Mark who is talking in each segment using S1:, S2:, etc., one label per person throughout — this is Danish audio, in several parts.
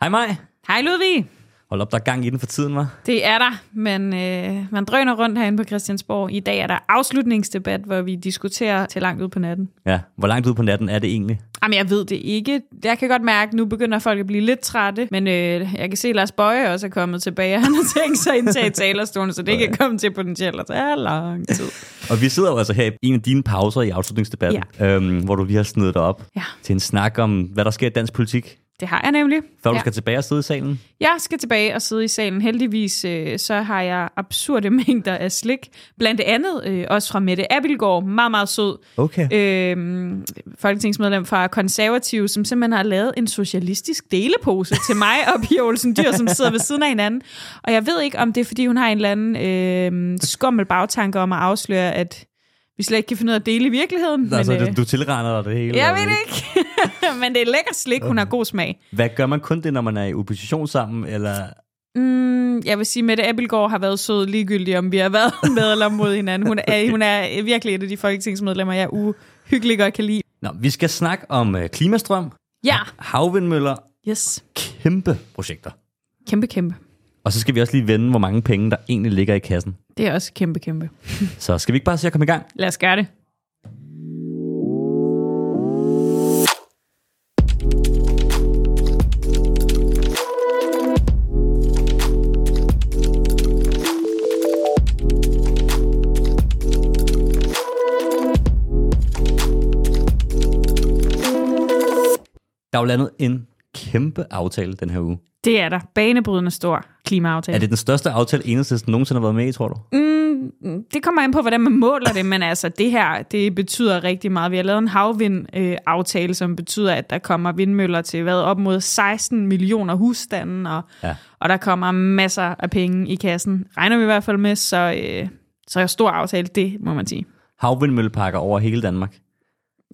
S1: Hej mig.
S2: Hej Ludvig.
S1: Hold op, der er gang i den for tiden, var.
S2: Det er der, men øh, man drøner rundt herinde på Christiansborg. I dag er der afslutningsdebat, hvor vi diskuterer til langt ud på natten.
S1: Ja, hvor langt ude på natten er det egentlig?
S2: Jamen, jeg ved det ikke. Jeg kan godt mærke, at nu begynder folk at blive lidt trætte, men øh, jeg kan se, at Lars Bøje også er kommet tilbage. Han har tænkt sig at indtage talerstolen, så det kan komme til potentielt at tage lang tid.
S1: Og vi sidder jo altså her i en af dine pauser i afslutningsdebatten, ja. øhm, hvor du lige har snedet dig op
S2: Ja.
S1: til en snak om, hvad der sker i dansk politik,
S2: Det har jeg nemlig.
S1: før ja. du
S2: Ja.
S1: skal tilbage og sidde i salen.
S2: Jeg skal tilbage og sidde i salen. Heldigvis øh, så har jeg absurde mængder af slik. Blandt andet øh, også fra Mette Abildgaard. Meget, meget sød.
S1: Okay.
S2: øh, folketingsmedlem fra Konservative, som simpelthen har lavet en socialistisk delepose til mig og Pia Olsen Dyr, som sidder ved siden af hinanden. Og jeg ved ikke, om det er, fordi hun har en eller anden øh, skummel bagtanke om at afsløre, at vi slet ikke kan finde ud af at dele i virkeligheden. Men,
S1: altså,
S2: øh,
S1: du, du tilregner dig det hele.
S2: jeg
S1: og-
S2: ved det ikke, men det er lækker slik, hun har god smag.
S1: Hvad gør man kun det, når man er i opposition sammen? Eller...
S2: Mm, jeg vil sige, Mette Abelgaard har været sød ligegyldig, om vi har været med eller mod hinanden. Hun er, hun er virkelig et af de folketingsmedlemmer, jeg uhyggeligt godt kan lide.
S1: Nå, vi skal snakke om øh, klimastrøm,
S2: Ja,
S1: havvindmøller,
S2: yes.
S1: kæmpe projekter.
S2: Kæmpe, kæmpe.
S1: Og så skal vi også lige vende, hvor mange penge, der egentlig ligger i kassen.
S2: Det er også kæmpe, kæmpe.
S1: Så skal vi ikke bare se at komme i gang?
S2: Lad os gøre det.
S1: Der er jo landet en kæmpe aftale den her uge.
S2: Det er der. Banebrydende stor klimaaftale.
S1: Er det den største aftale, enhedslisten nogensinde har været med i, tror du?
S2: Mm, det kommer an på, hvordan man måler det, men altså det her, det betyder rigtig meget. Vi har lavet en havvindaftale, som betyder, at der kommer vindmøller til hvad, op mod 16 millioner husstande, og,
S1: Ja.
S2: og der kommer masser af penge i kassen. Regner vi i hvert fald med, så, øh, så er en stor aftale, det må man sige.
S1: Havvindmølleparker over hele Danmark.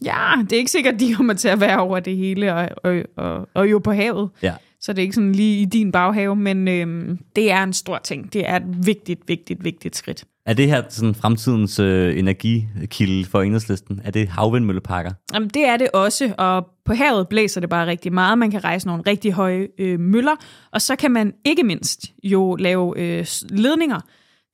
S2: Ja, det er ikke sikkert, de kommer til at være over det hele, og, og, og, og jo på havet.
S1: Ja.
S2: Så det er ikke sådan lige i din baghave, men øhm, det er en stor ting. Det er et vigtigt, vigtigt, vigtigt skridt.
S1: Er det her sådan fremtidens øh, energikilde for enhedslisten? Er det havvindmølleparker?
S2: Jamen, det er det også, og på havet blæser det bare rigtig meget. Man kan rejse nogle rigtig høje øh, møller, og så kan man ikke mindst jo lave øh, s- ledninger.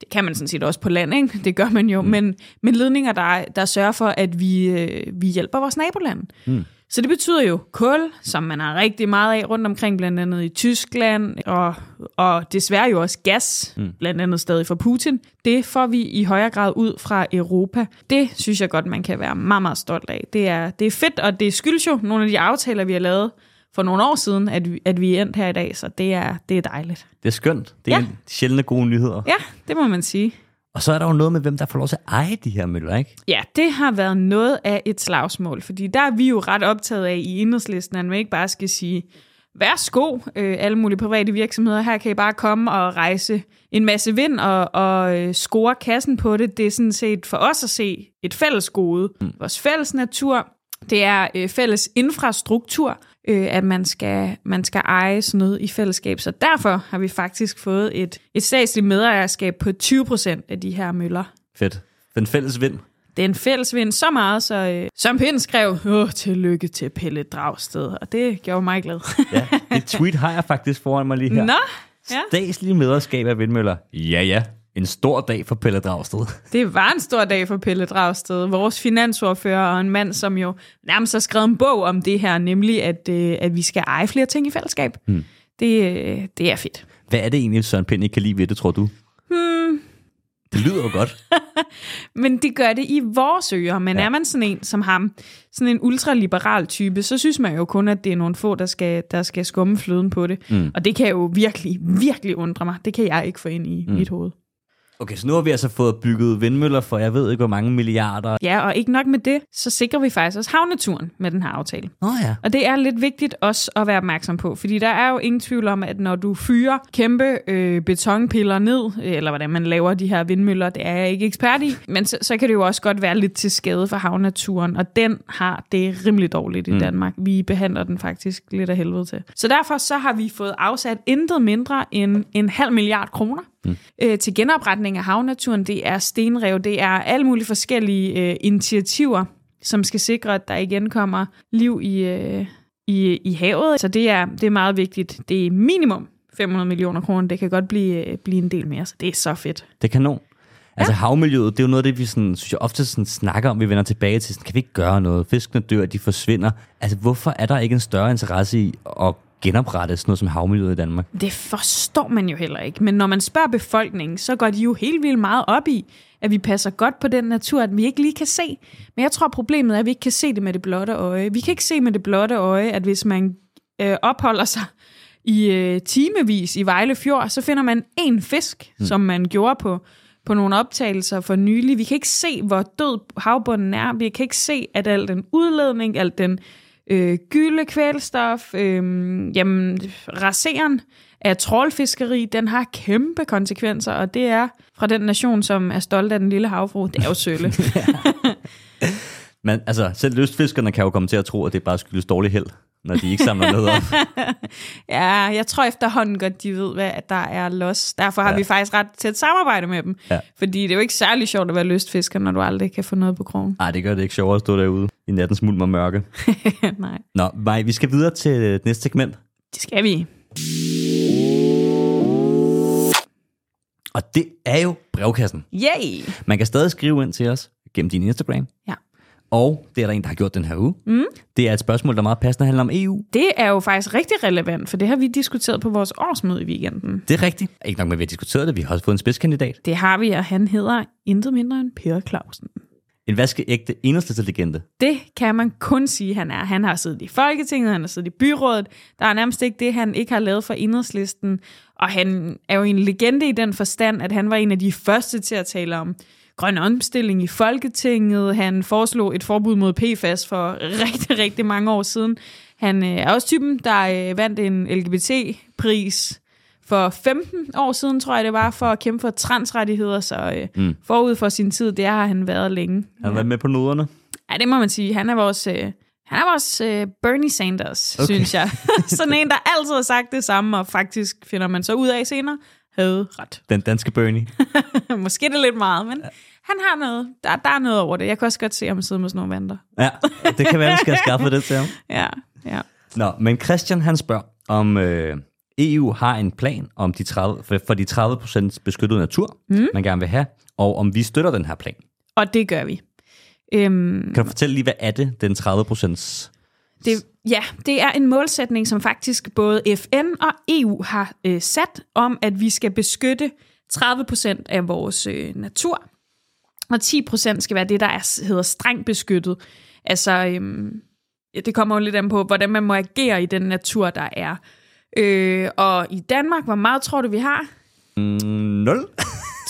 S2: Det kan man sådan set også på land, ikke? det gør man jo, mm. men, men ledninger, der, der sørger for, at vi, øh, vi hjælper vores nabolande. Mm. Så det betyder jo kul, som man har rigtig meget af rundt omkring, blandt andet i Tyskland, og, og desværre jo også gas, mm. blandt andet stadig fra Putin. Det får vi i højere grad ud fra Europa. Det synes jeg godt, man kan være meget, meget stolt af. Det er, det er fedt, og det skyldes jo nogle af de aftaler, vi har lavet for nogle år siden, at vi, at vi er endt her i dag, så det er, det er dejligt.
S1: Det er skønt. Det er
S2: Ja.
S1: ja. sjældne gode nyheder. Ja.
S2: Ja, det må man sige.
S1: Og så er der jo noget med, hvem der får lov til at eje de her møller, ikke?
S2: Ja, det har været noget af et slagsmål, fordi der er vi jo ret optaget af i enhedslisten, at man ikke bare skal sige, værsgo øh, alle mulige private virksomheder, her kan I bare komme og rejse en masse vind og, og øh, score kassen på det. Det er sådan set for os at se et fælles gode, mm. vores fælles natur, det er øh, fælles infrastruktur, øh, at man skal, man skal eje sådan noget i fællesskab. Så derfor har vi faktisk fået et, et statsligt medejerskab på 20% af de her møller.
S1: Fedt. Den fælles vind.
S2: Det er en fælles vind så meget, så øh, Søren Pind skrev, Åh, tillykke til Pelle Dragsted, og det gjorde mig glad.
S1: Ja. Et tweet har jeg faktisk foran mig lige her.
S2: Nå, ja.
S1: Statslige medejerskab af vindmøller. Ja, ja. En stor dag for Pelle Dragsted.
S2: det var en stor dag for Pelle Dragsted, vores finansordfører og en mand, som jo nærmest har skrevet en bog om det her, nemlig at, øh, at vi skal eje flere ting i fællesskab. Hmm. Det, øh, det er fedt.
S1: Hvad er det egentlig, Søren Pind ikke kan lide ved det, tror du? Hmm. Det lyder jo godt.
S2: Men det gør det i vores ører. Men ja. er man sådan en som ham, sådan en ultraliberal type, så synes man jo kun, at det er nogle få, der skal, der skal skumme fløden på det. Mm. Og det kan jo virkelig, virkelig undre mig. Det kan jeg ikke få ind i mm. mit hoved.
S1: Okay, så nu har vi altså fået bygget vindmøller for jeg ved ikke, hvor mange milliarder.
S2: Ja, og ikke nok med det, så sikrer vi faktisk også havnaturen med den her aftale.
S1: Nå ja.
S2: Og det er lidt vigtigt også at være opmærksom på, fordi der er jo ingen tvivl om, at når du fyrer kæmpe øh, betonpiller ned, øh, eller hvordan man laver de her vindmøller, det er jeg ikke ekspert i, men så, så kan det jo også godt være lidt til skade for havnaturen, og den har det rimelig dårligt i mm. Danmark. Vi behandler den faktisk lidt af helvede til. Så derfor så har vi fået afsat intet mindre end en halv milliard kroner mm. øh, til genopretning af havnaturen. Det er stenrev, det er alle mulige forskellige øh, initiativer, som skal sikre, at der igen kommer liv i, øh, i, i havet. Så det er, det er meget vigtigt. Det er minimum 500 millioner kroner. Det kan godt blive, øh, blive en del mere, så det er så fedt.
S1: Det er kanon. Altså ja. havmiljøet, det er jo noget af det, vi sådan, synes jeg ofte sådan snakker om, vi vender tilbage til. Sådan, kan vi ikke gøre noget? Fiskene dør, de forsvinder. Altså, hvorfor er der ikke en større interesse i at genoprette sådan noget som havmiljøet i Danmark?
S2: Det forstår man jo heller ikke. Men når man spørger befolkningen, så går de jo helt vildt meget op i, at vi passer godt på den natur, at vi ikke lige kan se. Men jeg tror, problemet er, at vi ikke kan se det med det blotte øje. Vi kan ikke se med det blotte øje, at hvis man øh, opholder sig i øh, timevis i Vejle Fjord, så finder man en fisk, mm. som man gjorde på, på nogle optagelser for nylig. Vi kan ikke se, hvor død havbunden er. Vi kan ikke se, at al den udledning, al den øh, gylde, kvælstof, øh, jamen, raseren af trålfiskeri, den har kæmpe konsekvenser, og det er fra den nation, som er stolt af den lille havfru, det er jo Sølle.
S1: Men altså, selv lystfiskerne kan jo komme til at tro, at det bare skyldes dårlig held, når de ikke samler noget op.
S2: Ja, jeg tror efterhånden godt, de ved, hvad at der er los. Derfor har ja. vi faktisk ret tæt samarbejde med dem.
S1: Ja.
S2: Fordi det er jo ikke særlig sjovt at være lystfisker, når du aldrig kan få noget på krogen.
S1: Nej, det gør det ikke sjovere at stå derude i nattens mulm og mørke.
S2: Nej,
S1: Nå, Maj, vi skal videre til øh, næste segment.
S2: det skal vi.
S1: Og det er jo brevkassen.
S2: Yay!
S1: Man kan stadig skrive ind til os gennem din Instagram.
S2: Ja.
S1: Og det er der en, der har gjort den her uge. Mm. Det er et spørgsmål, der meget passende handler om E EU.
S2: Det er jo faktisk rigtig relevant, for det har vi diskuteret på vores årsmøde i weekenden.
S1: Det er rigtigt. Ikke nok med, at vi har diskuteret det. Vi har også fået en spidskandidat.
S2: Det har vi, og han hedder intet mindre end Per Clausen.
S1: En vaskeægte enhedslæsselegende.
S2: Det kan man kun sige, han er. Han har siddet i Folketinget, han har siddet i byrådet. Der er nærmest ikke det, han ikke har lavet for enhedslisten. Og han er jo en legende i den forstand, at han var en af de første til at tale om grøn omstilling i Folketinget. Han foreslog et forbud mod PFAS for rigtig, rigtig mange år siden. Han øh, er også typen, der øh, vandt en LGBT-pris for 15 år siden, tror jeg det var, for at kæmpe for transrettigheder. Så øh, mm. forud for sin tid, det har han været længe.
S1: Han har været med på noderne.
S2: Ja, det må man sige. Han er vores, øh, han er vores øh, Bernie Sanders, okay. synes jeg. Sådan en, der altid har sagt det samme, og faktisk finder man så ud af senere, havde ret.
S1: Den danske Bernie.
S2: Måske det er lidt meget, men ja. han har noget. Der, der er noget over det. Jeg kan også godt se ham sidde med sådan nogle vandre.
S1: Ja, det kan være, vi skal have skaffet det til ham.
S2: Ja, ja.
S1: Nå, men Christian han spørger, om øh, EU har en plan om de 30, for, for de 30% beskyttet natur, mm. man gerne vil have, og om vi støtter den her plan.
S2: Og det gør vi. Øhm,
S1: Kan du fortælle lige, hvad er det, den 30%?
S2: det, ja, det er en målsætning, som faktisk både FN og EU har øh, sat om, at vi skal beskytte 30% af vores øh, natur, og 10% skal være det, der er, hedder strengt beskyttet. Altså, øhm, ja, det kommer jo lidt an på, hvordan man må agere i den natur, der er. Øh, og i Danmark, hvor meget tror du, vi har?
S1: 0?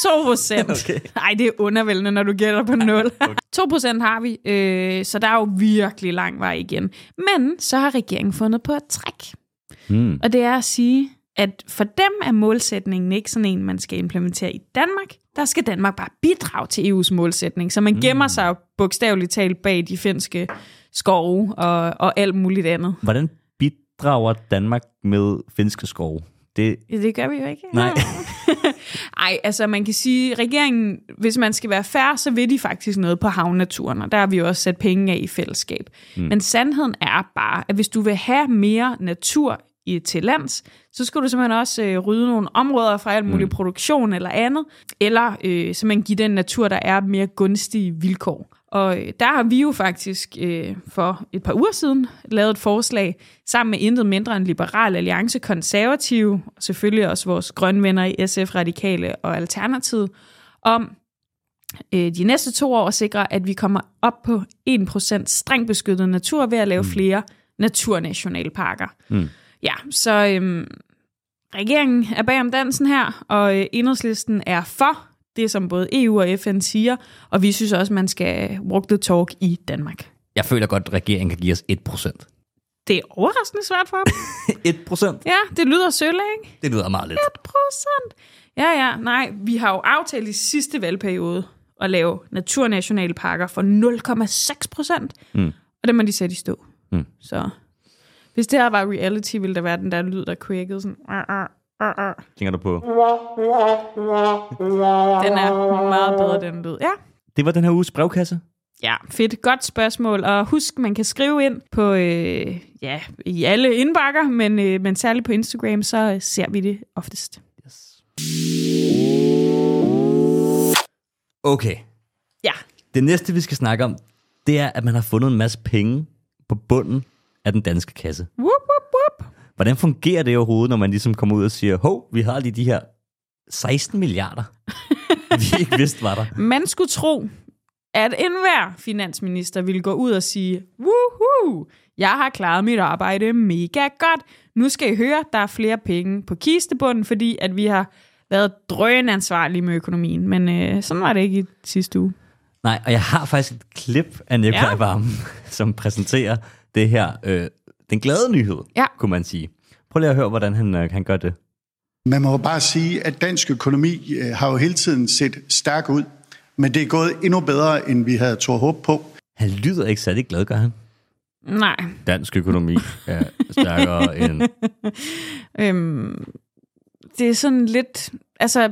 S2: 2 procent. Okay. Ej, det er undervældende, når du gætter på 0. 2 procent har vi, øh, så der er jo virkelig lang vej igen. Men så har regeringen fundet på et træk.
S1: Hmm.
S2: Og det er at sige, at for dem er målsætningen ikke sådan en, man skal implementere i Danmark. Der skal Danmark bare bidrage til EU's målsætning, så man gemmer sig jo bogstaveligt talt bag de finske skove og, og alt muligt andet.
S1: Hvordan bidrager Danmark med finske skove? Det,
S2: Ja, Det gør vi jo ikke.
S1: Nej.
S2: Ej, altså man kan sige, at regeringen, hvis man skal være færre, så vil de faktisk noget på havnaturen, og der har vi jo også sat penge af i fællesskab. Mm. Men sandheden er bare, at hvis du vil have mere natur i til lands, så skal du simpelthen også øh, rydde nogle områder fra alt mulig mm. produktion eller andet, eller øh, simpelthen give den natur, der er mere gunstige vilkår. Og øh, der har vi jo faktisk øh, for et par uger siden lavet et forslag sammen med intet mindre end Liberal Alliance, Konservative, og selvfølgelig også vores grønne venner i SF, Radikale og Alternativet, om øh, de næste to år at sikre, at vi kommer op på 1% strengt beskyttet natur ved at lave flere naturnationalparker.
S1: Mm.
S2: Ja, så øhm, regeringen er bag om dansen her, og øh, enhedslisten er for det, som både EU og FN siger, og vi synes også, man skal walk the talk i Danmark.
S1: jeg føler godt, at regeringen kan give os 1%.
S2: Det er overraskende svært for dem.
S1: 1%?
S2: ja, det lyder sølle, ikke?
S1: Det lyder meget lidt.
S2: procent. Ja, ja, nej, vi har jo aftalt i sidste valgperiode at lave naturnationalparker for 0,6 procent, mm. og det må de sætte i stå.
S1: Mm.
S2: Så hvis det her var reality, ville der være den der lyd, der quakede sådan. "Ah,
S1: Tænker du på?
S2: Den er meget bedre, den lyd. Ja,
S1: Det var den her uges brevkasse.
S2: Ja, fedt. Godt spørgsmål. Og husk, man kan skrive ind på øh, ja, i alle indbakker, men, øh, men særligt på Instagram, så øh, ser vi det oftest.
S1: Yes. Okay,
S2: Ja,
S1: det næste vi skal snakke om, det er, at man har fundet en masse penge på bunden af den danske kasse.
S2: whoop, whoop, whoop.
S1: Hvordan fungerer det overhovedet, når man ligesom kommer ud og siger, hov, vi har lige de her 16 milliarder, vi ikke vidste var der.
S2: Man skulle tro, at enhver finansminister ville gå ud og sige, woohoo, jeg har klaret mit arbejde mega godt. Nu skal I høre, der er flere penge på kistebunden, fordi at vi har været drønansvarlige med økonomien. Men øh, sådan var det ikke i sidste uge.
S1: Nej, og jeg har faktisk et klip af Nikolaj
S2: Ja.
S1: ja. Vammen, som præsenterer det her, øh, den glade nyhed,
S2: Ja.
S1: kunne man sige. Prøv lige at høre, hvordan han, øh, han gør det.
S3: Man må jo bare sige, at dansk økonomi øh, har jo hele tiden set stærk ud, men det er gået endnu bedre, end vi havde tror håb på.
S1: Han lyder ikke særlig glad, gør han?
S2: Nej,
S1: Dansk økonomi er stærkere end...
S2: øhm, det er sådan lidt... Altså,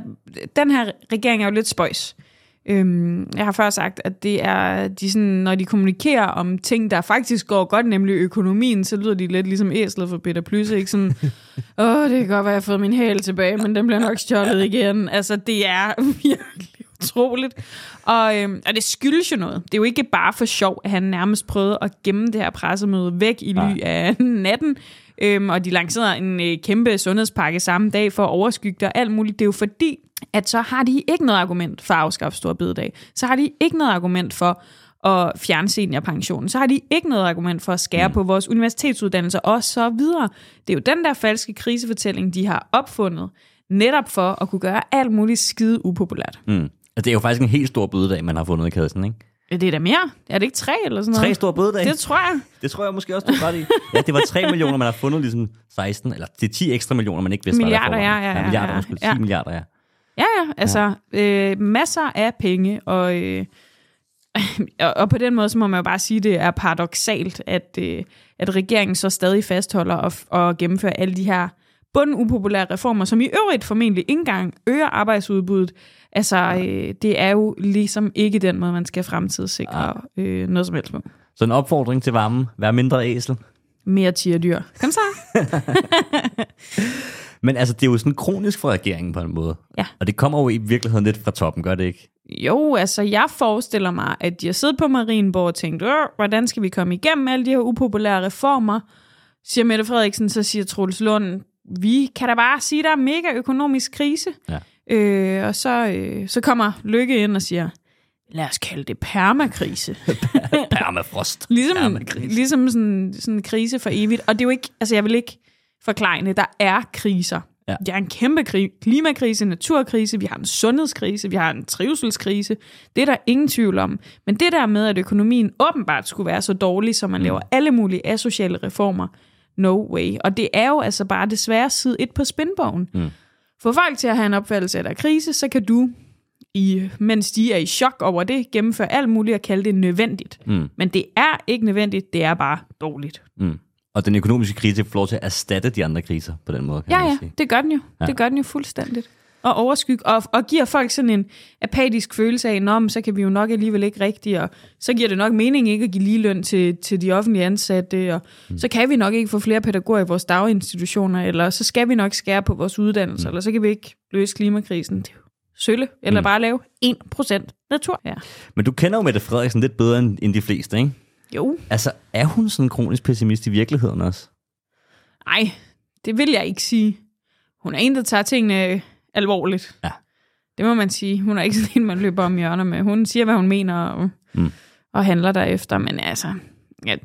S2: den her regering er jo lidt spøjs. Øhm, jeg har før sagt, at det er, de sådan, når de kommunikerer om ting, der faktisk går godt, nemlig økonomien, så lyder de lidt ligesom æslet for Peter Plys, ikke? Sådan, åh, det kan godt være, jeg har fået min hæl tilbage, men den bliver nok stjålet igen. Altså, det er virkelig utroligt. Og, øhm, og det skyldes jo noget. Det er jo ikke bare for sjov, at han nærmest prøvede at gemme det her pressemøde væk i ly af natten. Øhm, og de lancerede en øh, kæmpe sundhedspakke samme dag for at overskygge det og alt muligt. Det er jo fordi, at så har de ikke noget argument for at afskaffe stor bededag. Så har de ikke noget argument for at fjerne seniorpensionen. Så har de ikke noget argument for at skære mm. på vores universitetsuddannelser og så videre. Det er jo den der falske krisefortælling, de har opfundet, netop for at kunne gøre alt muligt skide upopulært. Mm.
S1: Mm. Og det er jo faktisk en helt stor bødedag, man har fundet i kassen, ikke?
S2: Det er da mere. Er det ikke tre eller sådan
S1: Tre
S2: noget?
S1: store bødedage.
S2: Det tror jeg.
S1: Det tror jeg måske også, du har ret i. Ja, det var 3 millioner, man har fundet ligesom 16, eller det er 10 ekstra millioner, man ikke vidste, var der i
S2: Milliarder,
S1: forvejen.
S2: ja, ja, ja,
S1: milliarder,
S2: ja.
S1: undskyld, 10
S2: Ja.
S1: milliarder, ja.
S2: Ja, ja, altså øh, masser af penge, og, øh, og, og på den måde, så må man jo bare sige, at det er paradoxalt, at, øh, at regeringen så stadig fastholder og, og gennemfører alle de her bundupopulære reformer, som i øvrigt formentlig ikke engang øger arbejdsudbuddet. Altså, øh, det er jo ligesom ikke den måde, man skal fremtidssikre øh, noget som helst på.
S1: Så en opfordring til varmen, vær mindre æsel.
S2: Mere tierdyr. Kom så.
S1: Men altså, det er jo sådan kronisk for regeringen på en måde.
S2: Ja.
S1: Og det kommer jo i virkeligheden lidt fra toppen, gør det ikke?
S2: Jo, altså jeg forestiller mig, at de har siddet på Marienborg og tænkt, "Åh, hvordan skal vi komme igennem alle de her upopulære reformer? Siger Mette Frederiksen, så siger Troels Lund, vi kan da bare sige, der er mega økonomisk krise.
S1: Ja.
S2: Øh, og så, øh, så kommer Lykke ind og siger, lad os kalde det permakrise.
S1: Permafrost.
S2: Ligesom,
S1: Permakrise.
S2: ligesom sådan, sådan en krise for evigt. Og det er jo ikke, altså jeg vil ikke forklare det, der er kriser.
S1: Ja.
S2: Der er en kæmpe kri- klimakrise, naturkrise, vi har en sundhedskrise, vi har en trivselskrise. Det er der ingen tvivl om. Men det der med, at økonomien åbenbart skulle være så dårlig, så man mm. laver alle mulige asociale reformer, no way. Og det er jo altså bare desværre side et på spinbogen. Mm. Få folk til at have en opfattelse af, at der er krise, så kan du i, mens de er i chok over det, gennemføre alt muligt og kalde det nødvendigt. Mm. Men det er ikke nødvendigt, det er bare dårligt.
S1: Mm. Og den økonomiske krise får lov til at erstatte de andre kriser på den måde, kan
S2: Ja,
S1: man
S2: ja,
S1: sige.
S2: det gør den jo. Ja. Det gør den jo fuldstændigt. Og overskyg, og, og giver folk sådan en apatisk følelse af, Nå, men så kan vi jo nok alligevel ikke rigtigt, og så giver det nok mening ikke at give lige løn til, til de offentlige ansatte, og mm. så kan vi nok ikke få flere pædagoger i vores daginstitutioner, eller så skal vi nok skære på vores uddannelser, mm. eller så kan vi ikke løse klimakrisen. Det er jo sølle, eller mm. bare lave 1% natur. Ja.
S1: Men du kender jo Mette Frederiksen lidt bedre end, end de fleste, ikke?
S2: Jo,
S1: Altså, er hun sådan en kronisk pessimist i virkeligheden også?
S2: Nej, det vil jeg ikke sige. Hun er en, der tager tingene øh, alvorligt.
S1: Ja.
S2: Det må man sige. Hun er ikke sådan en, man løber om hjørner med. Hun siger, hvad hun mener og, mm.
S1: Mm.
S2: og handler derefter. Men altså, ja,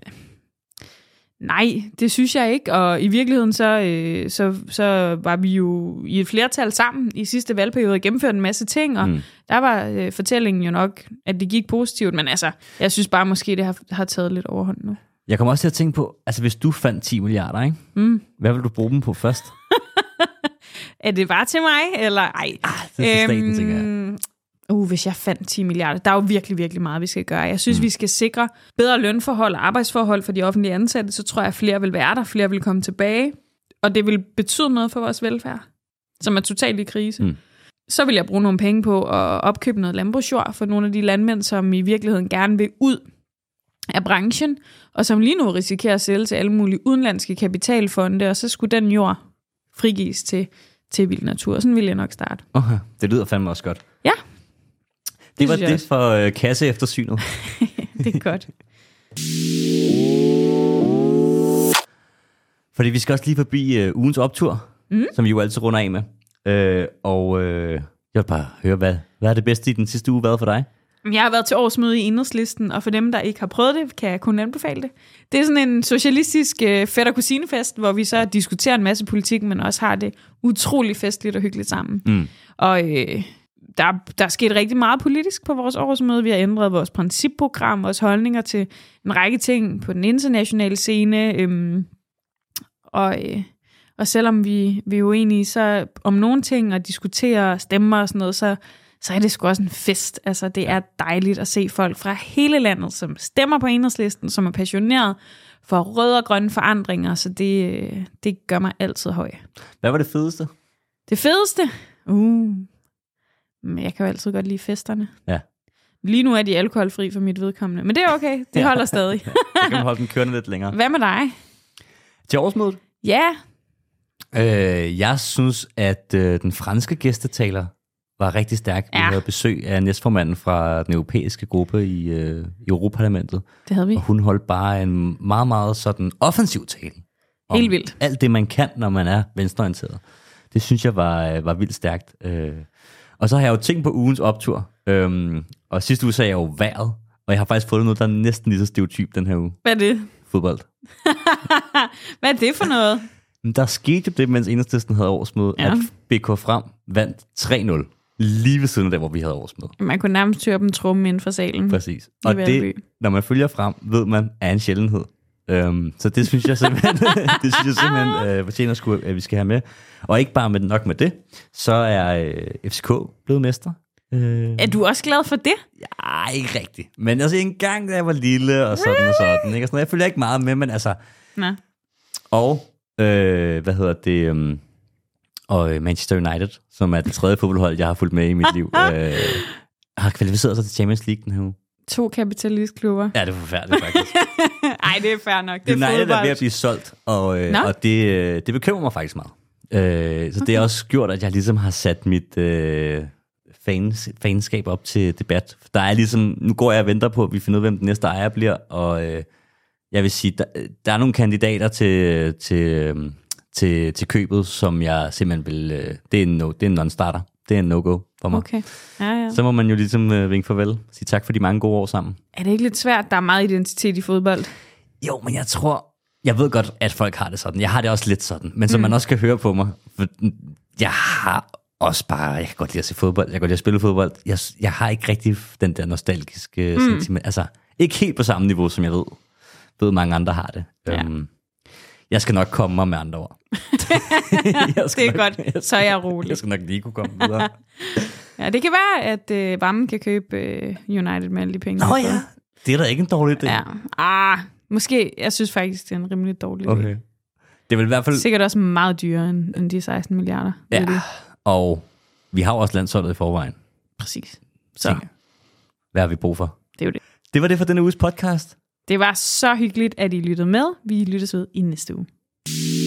S2: nej, det synes jeg ikke. Og i virkeligheden, så, øh, så, så var vi jo i et flertal sammen i sidste valgperiode og gennemførte en masse ting. Og mm. der var øh, fortællingen jo nok, at det gik positivt. Men altså, jeg synes bare måske, det har, har taget lidt overhånd nu.
S1: Jeg kommer også til at tænke på, altså hvis du fandt 10 milliarder, ikke? Mm. hvad vil du bruge dem på først?
S2: Er det bare til mig, eller ej? Ah,
S1: det er til staten, tænker
S2: Uh, hvis jeg fandt 10 milliarder. Der er jo virkelig, virkelig meget, vi skal gøre. Jeg synes, mm. vi skal sikre bedre lønforhold og arbejdsforhold for de offentlige ansatte. Så tror jeg, at flere vil være der, flere vil komme tilbage. Og det vil betyde noget for vores velfærd, som er totalt i krise. Mm. så vil jeg bruge nogle penge på at opkøbe noget landbrugsjord for nogle af de landmænd, som i virkeligheden gerne vil ud af branchen, og som lige nu risikerer at sælge til alle mulige udenlandske kapitalfonde, og så skulle den jord frigives til, til vild natur. Sådan ville jeg nok starte.
S1: Okay, det lyder fandme også godt.
S2: Ja,
S1: Det, det var
S2: synes jeg
S1: det
S2: også.
S1: for øh, kasse eftersynet.
S2: det er godt.
S1: Fordi vi skal også lige forbi øh, ugens optur, mm. som vi jo altid runder af med. Øh, og øh, jeg vil bare høre, hvad, hvad er det bedste i den sidste uge været for dig?
S2: Jeg har været til årsmøde i Enhedslisten, og for dem, der ikke har prøvet det, kan jeg kun anbefale det. Det er sådan en socialistisk øh, fætter kusinefest, hvor vi så diskuterer en masse politik, men også har det utrolig festligt og hyggeligt sammen. Mm. Og øh, der, der er sket rigtig meget politisk på vores årsmøde. Vi har ændret vores principprogram, vores holdninger til en række ting på den internationale scene. Øhm, og, øh, og selvom vi, vi er uenige så om nogle ting og diskuterer og stemmer og sådan noget, så, så er det sgu også en fest. Altså, det er dejligt at se folk fra hele landet, som stemmer på enhedslisten, som er passioneret for røde og grønne forandringer, så det, øh, det gør mig altid høj.
S1: Hvad var det fedeste?
S2: Det fedeste? Uh, men jeg kan jo altid godt lide festerne.
S1: Ja.
S2: Lige nu er de alkoholfri for mit vedkommende, men det er okay, de
S1: Ja.
S2: holder stadig.
S1: Så kan man holde den kørende lidt længere.
S2: Hvad med dig?
S1: Til årsmødet?
S2: Ja,
S1: Øh, jeg synes, at øh, den franske gæstetaler var rigtig stærk. Vi
S2: Ja.
S1: havde besøg af næstformanden fra den europæiske gruppe i, øh, i Europaparlamentet,
S2: det havde vi.
S1: og hun holdt bare en meget, meget sådan offensiv tale. om
S2: Helt vildt.
S1: Alt det, man kan, når man er venstreorienteret. Det synes jeg var, øh, var vildt stærkt. Øh, og så har jeg jo tænkt på ugens optur. Øhm, og sidste uge sagde jeg jo vejret, og jeg har faktisk fundet noget, der er næsten lige så stereotyp den her uge.
S2: Hvad er det?
S1: Fodbold.
S2: Hvad er det for noget?
S1: Men der skete jo det, mens Enhedslisten havde årsmøde, ja.
S2: Ja.
S1: at BK Frem vandt 3-0 lige ved siden af der, hvor vi havde årsmøde.
S2: Man kunne nærmest høre dem trumme inden for salen.
S1: Præcis. Og det,
S2: Valby.
S1: når man følger frem, ved man, er en sjældenhed. Øhm, så det synes jeg simpelthen, det synes jeg simpelthen øh, fortjener, skulle, at vi skal have med. Og ikke bare med nok med det, så er øh, FCK blevet mester. Øh,
S2: Er du også glad for det?
S1: ej, ikke rigtigt. Men altså en gang, da jeg var lille og sådan og sådan. Ikke? Og sådan jeg følger ikke meget med, men altså...
S2: Nå.
S1: Og, øh, hvad hedder det... øhm, og øh, Manchester United, som er det tredje fodboldhold, jeg har fulgt med i mit liv, øh, har kvalificeret sig til Champions League den her uge.
S2: To kapitalistklubber.
S1: Ja, det er forfærdeligt faktisk.
S2: Ej, det er fair nok. Det er
S1: United er ved at
S2: fodbold.
S1: blive solgt, og, øh,
S2: Nå.
S1: og det, øh, det bekymrer mig faktisk meget. Øh, så okay. det har også gjort, at jeg ligesom har sat mit øh, fans, fanskab op til debat. Der er ligesom, nu går jeg og venter på, at vi finder ud af, hvem den næste ejer bliver, og øh, jeg vil sige, der, der er nogle kandidater til, til, øh, til, til købet, som jeg simpelthen vil, øh, det er en no, det er en non-starter. Det er en no-go for mig.
S2: Okay. Ja, ja.
S1: Så må man jo ligesom øh, vinke farvel, sige tak for de mange gode år sammen.
S2: Er det ikke lidt svært? Der er meget identitet i fodbold.
S1: Jo, men jeg tror... Jeg ved godt, at folk har det sådan. Jeg har det også lidt sådan.
S2: Mm.
S1: Men som man også kan høre på mig, for jeg har også bare... Jeg kan godt lide at se fodbold. Jeg kan godt lide at spille fodbold. Jeg, jeg har ikke rigtig den der nostalgiske mm. sentiment. Altså, ikke helt på samme niveau, som jeg ved, ved mange andre har det.
S2: Ja.
S1: Øhm, jeg skal nok komme mig med andre ord. jeg
S2: Det
S1: skal
S2: er
S1: nok,
S2: godt. Så er jeg rolig.
S1: Jeg skal nok lige kunne komme videre.
S2: Ja, det kan være, at øh, Vammen kan købe øh, United med alle de penge.
S1: Nå
S2: han har
S1: ja,
S2: fået.
S1: det er da ikke en dårlig idé.
S2: ja. Ah, måske. Jeg synes faktisk, det er en rimelig dårlig idé.
S1: Okay. Det vil i hvert fald...
S2: Sikkert også meget dyrere end, end de 16 milliarder. ved
S1: Ja,
S2: det.
S1: og vi har jo også landsholdet i forvejen.
S2: Præcis.
S1: Så hvad har vi brug for?
S2: Det er jo det.
S1: Det var det for denne uges podcast.
S2: Det var så hyggeligt, at I lyttede med. Vi lyttes ved i næste uge.